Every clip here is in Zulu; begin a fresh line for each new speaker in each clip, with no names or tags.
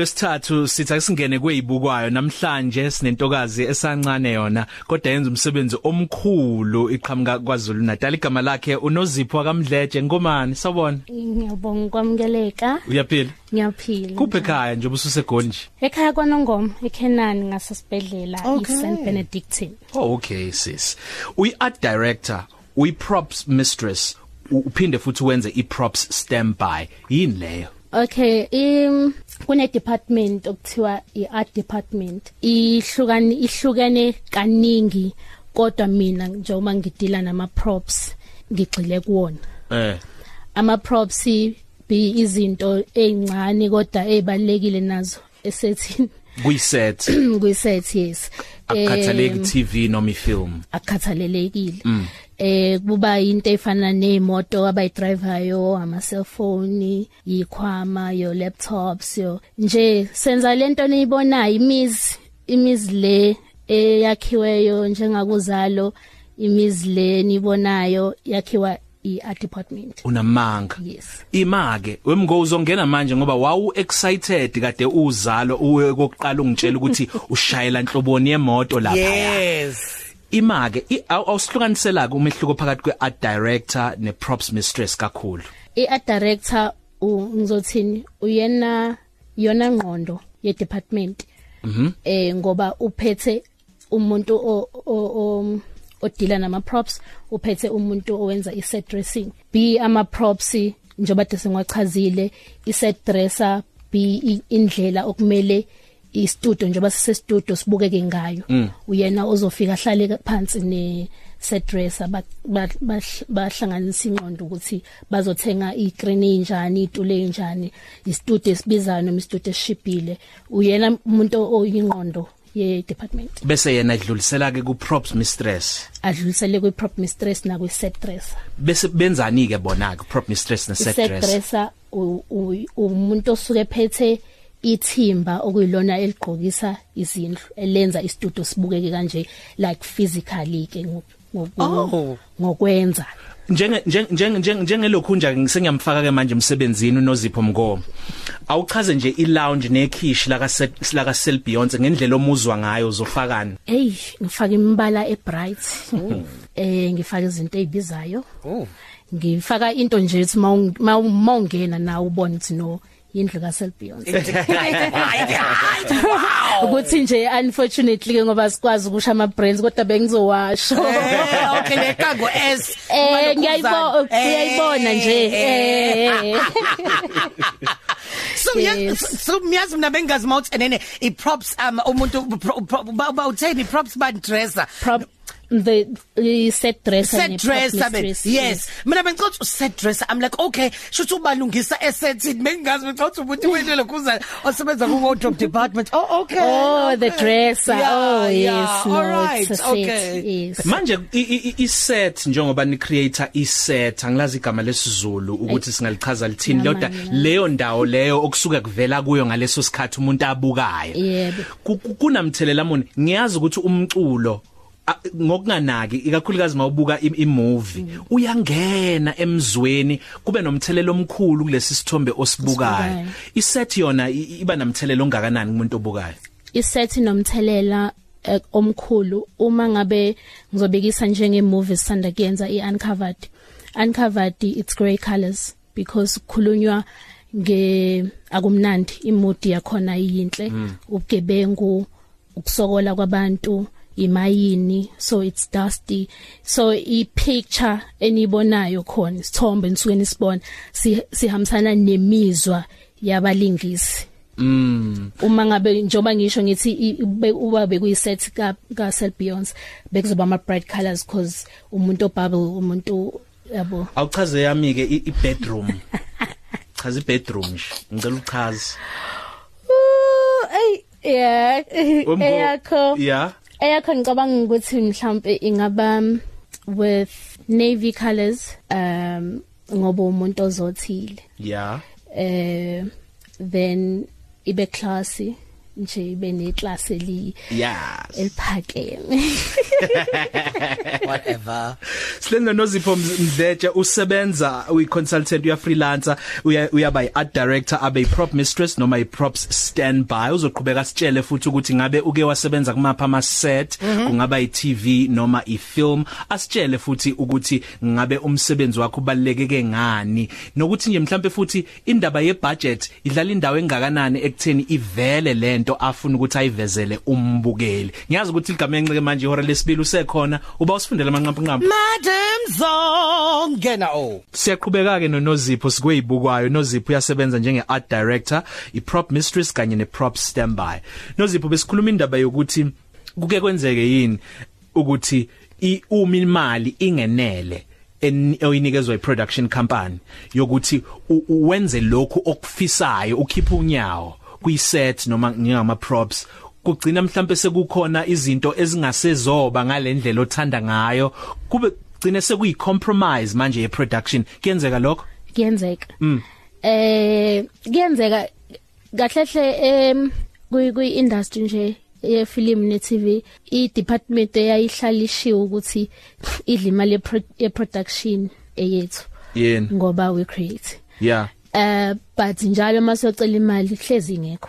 Makulesithathu sithi asingene kwezibukwayo namhlanje sinentokazi esancane yona kodwa yenza umsebenzi omkhulu iqhamuka kwaZulu Natal igama lakhe uNozipho kaMdleje ngomani sawbona
Ngiyabonga kwamukeleka.
uyaphila
Ngiyaphila.
kuphe ekhaya nje ubususegoli nje
Ekhaya kwaNongoma eKenani ngasesibedlela
Okay.
iSt Benedictine.
oh okay sis uyi art director uyi props mistress u- uphinde futhi wenze iprops standby yini leyo
Okay, im kune department okuthiwa iArt department. Ihlukani ihlukene kaningi kodwa mina njengoba ngidila nama props ngigxile kuwona.
eh
Ama props be izinto ezincane kodwa ezibalekile nazo esethini
kuyiset
kuyiset yes.
akukhathaleki
Em,
TV noma ifilm
akukhathalelekile eh kuba into efana nemoto abayidrivayo ama cellphone yikhwama yo laptops yo nje senza lento niyibonayo imizi imizi le eyakhiweyo njengakuzalo imizi le nibonayo yakhiwa iart department
unamanga
yes
imake wemngo uzongena manje ngoba wawu excited kade uzalo uwe kokuqala ungitshela ukuthi ushayela inhloboni yemoto lapha
Yes.
imake i- aw- awusihlukanisela ke umehluko phakathi kweart director neprops mistress kakhulu
iart director u- ngizothini uyena yona ngqondo ye department mhm eh ngoba uphethe umuntu o- o- o- odila nama props uphethe umuntu owenza i set dressing be ama props njengoba desengwachazile i set dresser be i- indlela okumele i studio njengoba sise studio sibukeke ngayo uyena ozofika ahlale phansi ne set dresser ba- ba- bahl- bahlanganisa inqondo ukuthi bazothenga i-green enjani itule enjani istudio esibizayo noma istudio esishibhile uyena umuntu oyinqondo ye department
bese yena edlulisela ke kuprops mistress
adlulisele kwi prop mistress na kwi set dresser
bese benzani ke bona ke prop mistress ne set
set
dress
dresser u- u- umuntu osuke phethe ithimba okuyilona eligqokisa izindlu elenza istudio sibukeke kanje like physically ke ngo- ngo-
Oh.
ngokwenza
njenge njenge- njenge njenge- njengelokhunja ngisengiyamfaka ke manje umsebenzini uNozipho Mngoma awuchaze nje ilounge nekhishi la ka la ka Sel Beyonce ngendlela omuzwa ngayo uzofakana
hey ngifake imibala ebright eh ngifake izinto ezibizayo
Oh.
ngifaka into nje ethi mawungena na ubone ukuthi no indlu kaSelbeyonce
Eh.
ukuthi nje unfortunately ke ngoba sikwazi ukusha ama brands kodwa bengizowasho
Eh, okay lekango S.
eh ngiyayibona uyayibona nje eh
So
Yes.
yes. so miyazi mina bengazi mouth and then i props um umuntu pro- pro- ba- ba utheni props band dresser.
prop the the set dresser
set
ne prop
dresser ben
mistress,
yes mina bengicothi set dresser i'm like okay shothi ubalungisa esethini bengazi bengicothi ukuthi wena lokuzana osebenza ku wardrobe department oh okay
Oh, the
okay.
dresser.
Yeah,
Oh, yes.
yeah.
No,
all right
it's a set.
okay
Yes.
manje i- i- i- iset njengoba ni creator iset angilazi igama lesizulu ukuthi singalichaza lithini
Yamani,
kodwa
yamani.
leyo ndawo leyo okusuka kuvela kuyo ngaleso sikhathi umuntu abukayo
Yebo.
Ku- ku- kunamthelela muni ngiyazi ukuthi umculo a- ngokunganaki ikakhulukazi mawubuka i- imovie uyangena emzweni kube nomthelelo omkhulu kulesi sithombe osibukayo
Osibukayo.
iset yona i- iba namthelelo ongakanani kumuntu obukayo
isethi nomthelela eh, omkhulu uma ngabe ngizobekisa njenge movie sanda kuyenza iuncovered uncovered it's grey colors because khulunywa nge akumnandi imodi yakhona iyinhle ubugebengu ukusokola kwabantu imayini so it's dusty so i picture enibonayo khona isithombe nisuke nisibona si- sihambisana nemizwa yabalingisi
Mm.
uma ngabe njoba ngisho ngithi i- ube- uba bekuyiset ka ka Sel Beyonce bekuzoba ama bright colors cause umuntu obubble umuntu yabo
awuchaze yami ke i i- bedroom chaza i bedroom nje ngicela uchaze
hey yeah
Wembo-
eyakho
yeah
eyakho ngicabanga ukuthi mhlambe ingaba with navy colors um ngoba umuntu ozothile
yeah
eh then ibe classy nje ibe neclass eli
Yes.
eliphakeme
whatever
Silendo Nozipho Mdletshe usebenza uyi consultant uya freelancer uya uyaba yi art director abe yi prop mistress noma yi props standby uzoqhubeka sitshele futhi ukuthi ngabe uke wasebenza kumapha ama set kungaba yi TV noma i film asitshele futhi ukuthi ngabe umsebenzi wakho ubalekeke ngani nokuthi nje mhlambe futhi indaba ye budget idlala indawo engakanani ekutheni ivele lento afuna ukuthi ayivezele umbukeli ngiyazi ukuthi igama enxike manje ihora lesibili usekhona uba usifundele amanqampu nqampu
madam oh. zonke na o
Siyaqhubeka ke noNozipho sikwezibukwayo noZipho uyasebenza njenge art director, i prop mistress kanye ne prop standby. NoZipho besikhuluma indaba yokuthi kuke kwenzeke yini ukuthi i uma imali ingenele en- oyinikezwa i production company yokuthi u- uwenze lokhu okufisayo ukhipha unyawo kuyiset noma ngama props kugcina mhlambe sekukhona izinto ezingasezoba ngalendlela othanda ngayo kube gcine sekuyi compromise manje ye production kuyenzeka lokho
kuyenzeka eh kuyenzeka kahlehle em kuyi kuyi industry nje ye film ne TV i department eyayihlalishiwe ukuthi idla imali epro- ye production eyethu
yena
ngoba we create
yeah
eh but njalo masocela imali hlezi ingekho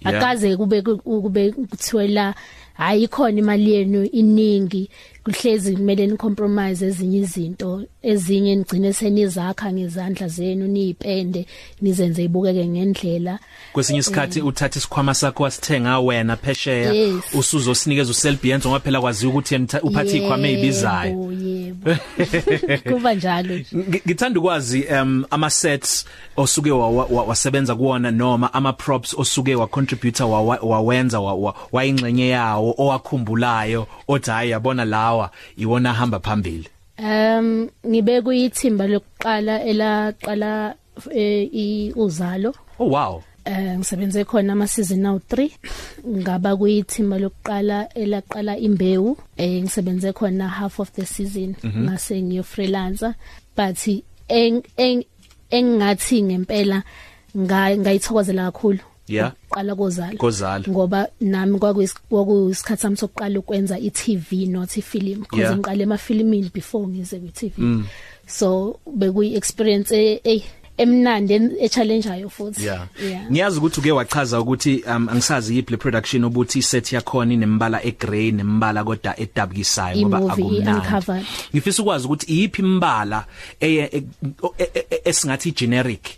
Yeah.
akaze kube ku- kube kuthiwe la hayi khona imali yenu iningi kuhlezi kumele nicompromise ezinye izinto ezinye nigcine senizakha ngezandla zenu niyipende nizenze ibukeke ngendlela
kwesinye isikhathi uthatha isikhwama sakho wasithenga wena phesheya
Yes.
usuzosinikeza uselbiyenzo ngaphela kwaziyo ukuthi yena utha- uphatha ikhwama ezibizayo
Yebo, yebo kuba njalo nje
Ngi- ngithanda ukwazi um ama sets osuke wa- wa- wa- wasebenza kuona noma ama props osuke wa contributor wawa- wawenza wa- wa- wayingxenye yawo owakhumbulayo othi hayi yabona lawa iwona hamba phambili
Um ngibe kuyithimba lokuqala elaqala eh, i uzalo
oh wow
eh ngisebenze khona ama season now 3 ngaba kuyithimba lokuqala elaqala imbewu eh ngisebenze khona half of the season
Mhm.
ngase ngiyo freelancer but eng eng- engathi ngempela nga- ngayithokozela kakhulu
Yeah.
qala kozalo
Kozalo.
ngoba nami kwakuyis- kwakuyisikhathi sami sokuqala ukwenza i-TV not i-film because
Yeah. Mm.
ngiqale emafilimini before ngize kwi-TV so bekuyi experience eh eh, emnandi en- echallengeayo futhi
yeah
yeah
ngiyazi ukuthi uke wachaza ukuthi um angisazi yiple production obuthi set yakhona inembala egrey nembala kodwa edabukisayo ngoba
I-movie,
akumnandi
i-uncovered.
ngifisa ukwazi ukuthi iyiphi imbala eye- e- o- e- e- e- esingathi generic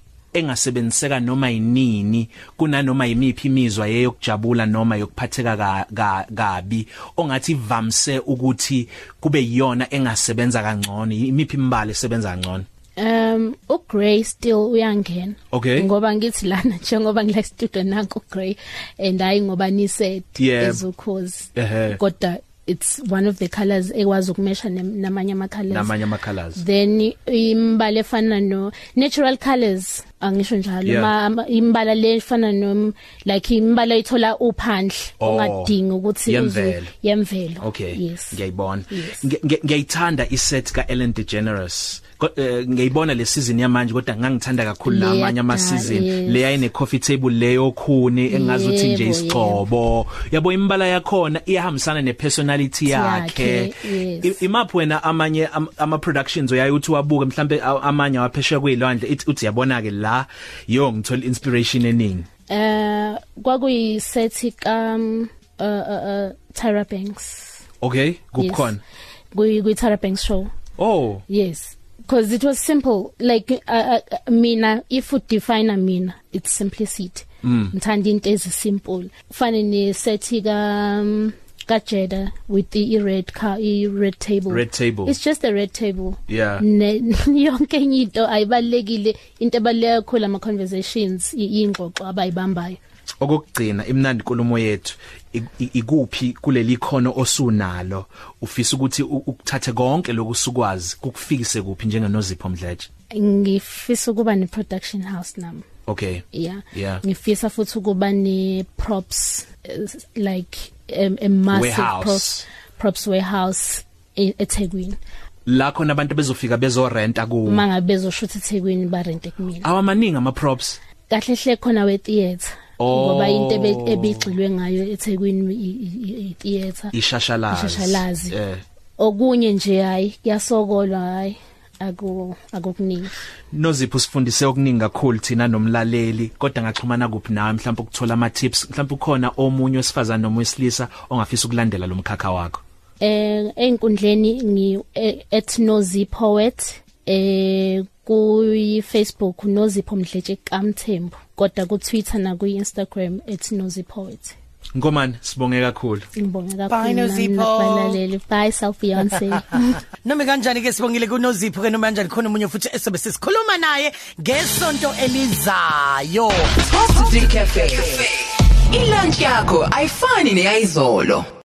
engasebenziseka noma yinini kunanoma yimiphi imizwa yeyokujabula noma yokuphatheka ka- ka- kabi ongathi vamise ukuthi kube yiyona engasebenza kangcono imiphi imbala esebenza kangcono
um uGray still uyangena
Okay.
ngoba ngithi lana njengoba ngila studio nanku Gray and hayi ngoba ni said
Yeah.
ezukhozi
Ehhe.
kodwa it's one of the colors ekwazi ukumesha nem- namanye ama colors
namanye ama colors
then imbala efana no natural colors angisho njalo
Yeah.
ma- ama- imbala le efana no like imbala ithola uphandle
Oh.
ungadingi ukuthi uze-
Yemvelo.
yemvelo
Okay
yes
ngiyayibona
Yes.
Ngi- ngi- ngiyayithanda iset ka Ellen DeGeneres Ko- eh, ngiyayibona le season yamanje kodwa ngangithanda kakhulu
Le
lamanye ama
yakudala,
season
yes.
le yayine coffee table leyo khuni engazi ukuthi nje
Yebo,
isiqobo yabo imbala yakhona iyahambisana ne personality yakhe
Yakhe, yes.
I- imaphi wena amanye am- ama productions uyaye uthi wabuke mhlambe a- amanye awaphesheya kwezilwandle ithi- uthi yabona ke la yo ngithola inspiration eningi
eh kwakuyisethi ka um, uh, uh, uh, Tyra Banks
okay
Yes.
kukhona
kuyi kuyi Tyra Banks show
oh
yes because it was simple like uh, uh, mina if you define mina it's simplicity
Mm.
ngithanda into ezisimple fane ne sethi ka um, ka Jeda with the red car i red table
Red table.
it's just a red table
Yeah.
Ne- yonke enye into ayibalekile into ebaleka kakhulu ama conversations i- ingxoxo abayibambayo
okokugcina imnandi inkulumo yethu i- i- ikuphi kuleli khono osunalo ufisa ukuthi u- ukuthathe konke lokusukwazi kukufikise kuphi njengenozipho mdletshe
ngifisa ukuba ne production house nami
okay
yeah
Yeah.
ngifisa futhi ukuba ne props eh, like um, a massive
Warehouse.
props props warehouse e- eThekwini
la khona abantu bezofika bezorenta ku
uma ngabe bezoshutha eThekwini ba rent kumina
awamaningi ama props
kahle hle khona we theater
Oh.
ngoba into ebe- ebigxilwe ngayo eThekwini i- i- i- i-theater
ishashalazi
Ishashalazi.
eh
okunye nje hayi kuyasokolwa hayi aku akukuningi
nozipho sifundise okuningi kakhulu thina nomlaleli kodwa ngaxhumana kuphi nawe mhlawumbe ukuthola ama tips mhlawumbe ukhona omunye osifazana noma wesilisa ongafisa ukulandela lomkhakha wakho
eh einkundleni ngi eh, at @nozipoet eh kuyi Facebook nozipho mdletshe kamthembu kodwa ku Twitter na ku Instagram @nozipoet
ngomani sibonge kakhulu
ngibonga kakhulu
Bye,
nami
Nozipho.
nakubalaleli bye self fiance
Noma kanjani ke sibongile kunozipho ke noma kanjani khona umunye futhi esobe sisikhuluma naye ngesonto elizayo.
Coffee Cafe. Ilunch yakho ayifani neyizolo.